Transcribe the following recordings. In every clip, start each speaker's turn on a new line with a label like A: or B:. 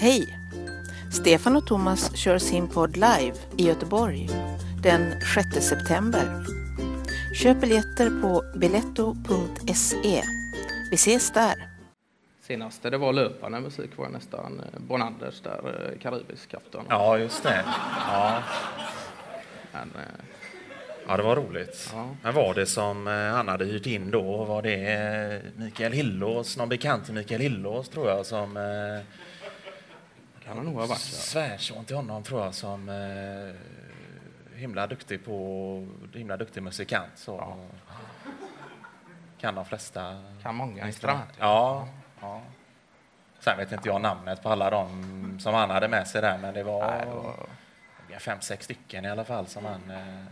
A: Hej! Stefan och Thomas kör sin podd live i Göteborg den 6 september. Köp biljetter på biletto.se. E. Vi ses där!
B: Senaste det var löparna musik var nästan eh, Bonanders där, eh, karibisk afton.
C: Ja, just det. Ja,
B: Men, eh,
C: ja det var roligt.
B: Ja.
C: Men var det som eh, han hade hyrt in då? Var det eh, Mikael Hillås, någon bekant till Mikael Hillås tror jag som eh,
B: kan han nog ha varit där.
C: svärson till honom tror jag som eh, himla duktig på himla duktig musikant. Så. Kan de flesta
B: Kan många
C: instrument.
B: instrument.
C: Ja, ja. Sen vet inte jag namnet på alla de som han hade med sig där, men det var,
B: Nej, det var,
C: det var fem, sex stycken i alla fall som han eh,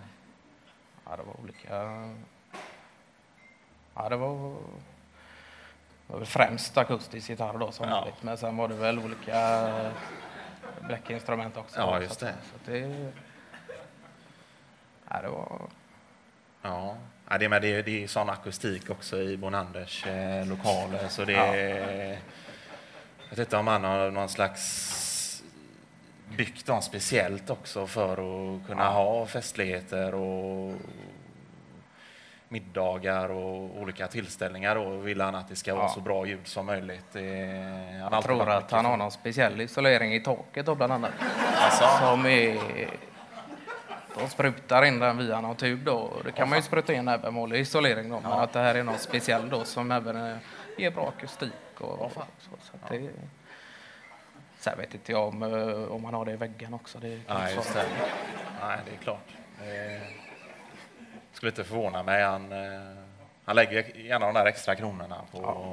B: ja, det var olika... Ja, det var... Det var väl främst akustisk gitarr då som
C: Ja.
B: vanligt, men sen var det väl olika eh, bläckinstrument också.
C: Ja, just
B: Så att-
C: det.
B: Så att det, ja, det var...
C: Ja, ja det, men det, det är sån akustik också i Bonanders eh, lokaler. Så det är, Jag vet inte om han har någon slags byggt dem speciellt också för att kunna ha festligheter och middagar och olika tillställningar. Då vill han att det ska vara
B: Ja.
C: så bra ljud som möjligt. Det, han har
B: Jag
C: alltid
B: tror
C: varit
B: att han har
C: mycket
B: någon speciell isolering i taket då bland annat.
C: för- Alltså,
B: Som är... De sprutar in den via någon tub då. Och Det kan man ju spruta in även vanlig isolering då. Men att det här är något speciell då som även eh, ger bra akustik och, och så. så att det, sen vet inte jag om, eh, om man har det i väggen också. Det kan
C: Nej,
B: jag
C: just
B: svara
C: det.
B: på.
C: Nej, det är klart. Eh, skulle inte förvåna mig. Han, eh, han lägger gärna de där extra kronorna på...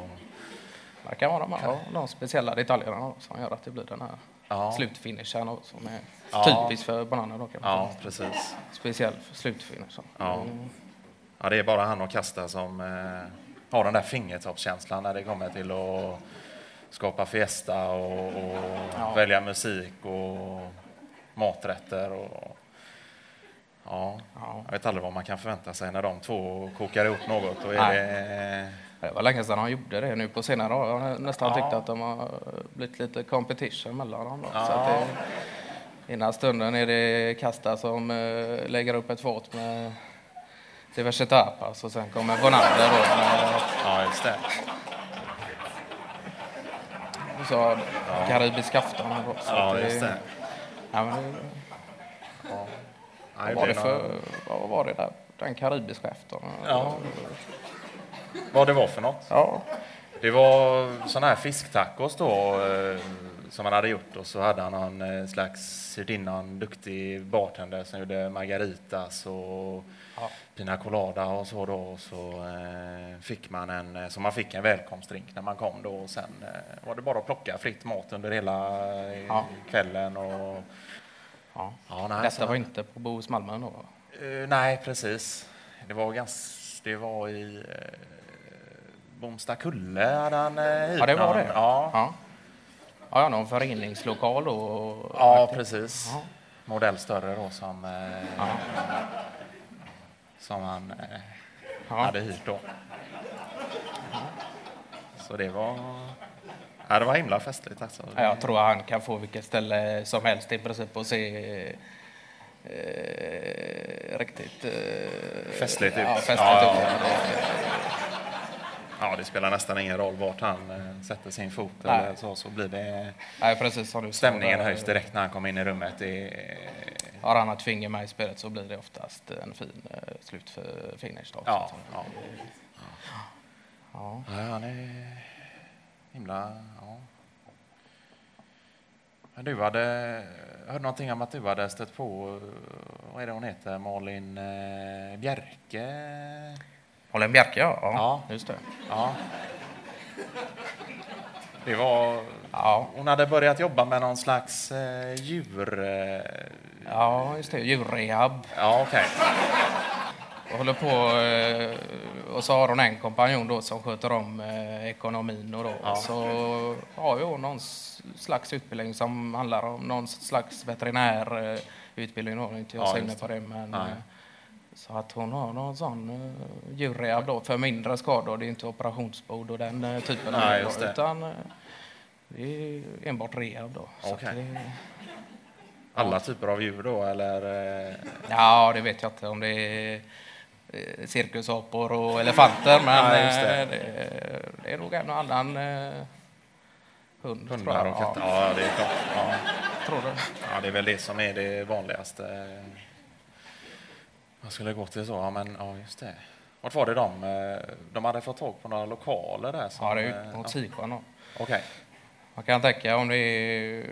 B: Det kan vara de, här, de speciella detaljerna då, som gör att det blir den här
C: Ja.
B: slutfinishen då, som är
C: Ja.
B: typisk för bananer. Då, kan man
C: Ja,
B: säga.
C: precis.
B: Speciell slutfinish. då.
C: Ja. Ja, det är bara han och Kasta som eh, har den där fingertoppskänslan när det kommer till att skapa fiesta och, och välja musik och maträtter. Och, ja,
B: Ja.
C: jag vet aldrig vad man kan förvänta sig när de två kokar ihop något. Då är
B: Nej.
C: det,
B: Det var länge sedan han gjorde det nu på senare år. Jag har nästan tyckt att de har blivit lite competition mellan dem. Då. Så att det, innan stunden är det Kasta som eh, lägger upp ett fat med diverse tapas och sen kommer Bonander då. med-
C: ja, just det.
B: Och så har karibisk afton här då. Så
C: Ja,
B: att
C: just det.
B: Ja, men det,
C: Nej,
B: var det
C: blir någon-
B: för, vad var det där? Den karibiska afton?
C: Ja. vad det var för något.
B: ja.
C: Det var sådana här fisktacos då eh, som han hade gjort och så hade han någon eh, slags, hyrt in någon duktig bartender som gjorde margaritas och
B: Ja.
C: pina colada och så då. Och så eh, fick man en, eh, så man fick en välkomstdrink när man kom då och sen eh, var det bara att plocka fritt mat under hela eh,
B: Ja.
C: kvällen och
B: ja.
C: ja, nej, så-
B: Detta var inte på Bohus Malmö då? va?
C: Eh, nej, precis. Det var ganska... Det var i uh, Bomstakulle hade han uh,
B: Ja, det var det?
C: Ja,
B: Ja, ja, ja någon föreningslokal då? Och,
C: ja precis.
B: Ja.
C: Modell större då som, eh,
B: Ja.
C: som han eh,
B: Ja.
C: hade hyrt då. Så det var... Ja, det var himla festligt alltså.
B: Ja, Jag tror han kan få vilket ställe som helst i princip och se eh, riktigt eh,
C: Festligt ut.
B: Ja, festligt
C: Ja,
B: ut.
C: Ja, det spelar nästan ingen roll vart han eh, sätter sin fot
B: Nej.
C: eller så, så blir det...
B: Nej, precis som du sa.
C: Stämningen
B: Där
C: höjs direkt när han kommer in i rummet. Det är,
B: Har han ett finger med i spelet så blir det oftast en fin eh, slut för finish. Då,
C: ja,
B: Så att-
C: ja.
B: ja.
C: Ja, han är himla... Ja. Men du hade... Jag hörde någonting om att du hade stött på... eh, Vad är det hon heter? Malin eh, Bjerke?
B: Malin Bjerke, ja.
C: Ja.
B: Just det.
C: Ja. Det var...
B: Ja.
C: Hon hade börjat jobba med någon slags eh, djur... Eh,
B: ja, just det. Djurrehab.
C: ja, okej.
B: Och håller på eh, och så har hon en kompanjon då som sköter om eh, ekonomin och då.
C: Ja.
B: Så har ju hon någon s- slags utbildning som handlar om någon slags veterinär eh, utbildning. Hon är inte jag
C: Ja,
B: så
C: just
B: inne på det men
C: Nej.
B: eh, så att hon har någon sån eh, djurrehab då för mindre skador. Det är inte operationsbord och den eh, typen
C: Nej,
B: grejer
C: just
B: då,
C: det.
B: utan eh, Det är enbart rehab då. Så att
C: Okej.
B: det-
C: Alla typer av djur då, eller? eh,
B: Ja, det vet jag inte om det är eh, cirkusapor och elefanter, men
C: Ja, just det.
B: eh, det, det är nog även någon annan eh, hund. tror
C: Hundar
B: jag.
C: och katter? Ja, det är klart. Ja.
B: Ja, tror du?
C: ja, det är väl det som är det vanligaste. Jag skulle gå till så, ja men ja, just det. Vart var det de? eh, De hade fått tag på några lokaler där? Som,
B: Ja, det är
C: eh,
B: ut mot Siksjön. då.
C: ja. Okej.
B: Man kan tänka om det är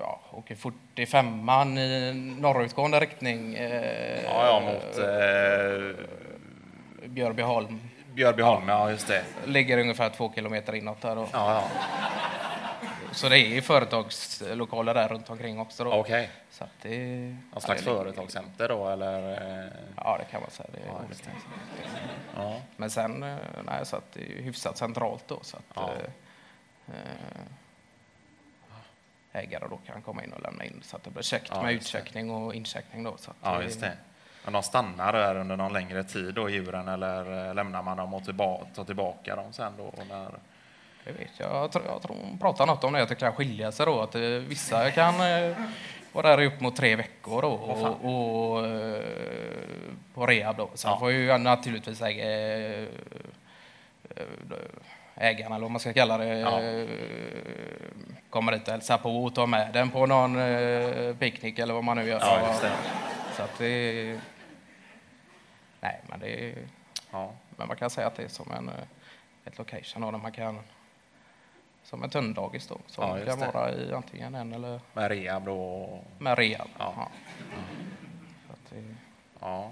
B: ja, åker 45an i norrutgående riktning, eh,
C: Ja, ja, mot eh,
B: Björbyholm.
C: Björbyholm, ja just det.
B: Ligger ungefär två kilometer inåt där. Då.
C: Ja,
B: Så det är företagslokaler där runt omkring också. Då.
C: ja. Okej.
B: Så att det,
C: Någon slags
B: ja, det ligger-
C: företagscenter då, eller? eh,
B: Ja, det kan man säga. Det är
C: Ja, just
B: olika.
C: Ja.
B: Men sen, eh, nej, så att det är ju hyfsat centralt då. Så att,
C: Ja.
B: eh, eh, ägare då kan komma in och lämna in så att det blir käckt
C: Ja,
B: med
C: just det.
B: utcheckning och incheckning då. Så att
C: ja, just det. Men de stannar där under någon längre tid då, djuren, eller eh, lämnar man dem och tillba- tar tillbaka dem sen då? När...
B: Det vet jag. Jag tror, jag tror hon pratar något om det, att det kan skilja sig då. Att eh, vissa kan eh, vara där i upp mot tre veckor då, och, och, eh, på rehab då. Sen
C: Ja.
B: får ju naturligtvis äg, eh, ägarna, eller vad man ska kalla det,
C: Ja.
B: eh, komma dit och hälsa på och ta med den på någon eh, picknick eller vad man nu gör.
C: Ja, just det.
B: Så att det... Nej, men det är...
C: Ja.
B: Men man kan säga att det är som en eh, ett location då, där man kan som ett hunddagis då,
C: Ja,
B: som
C: just
B: kan
C: det.
B: vara i antingen en eller
C: Med rehab då? och-
B: med rehab.
C: Ja.
B: Så att det,
C: Ja.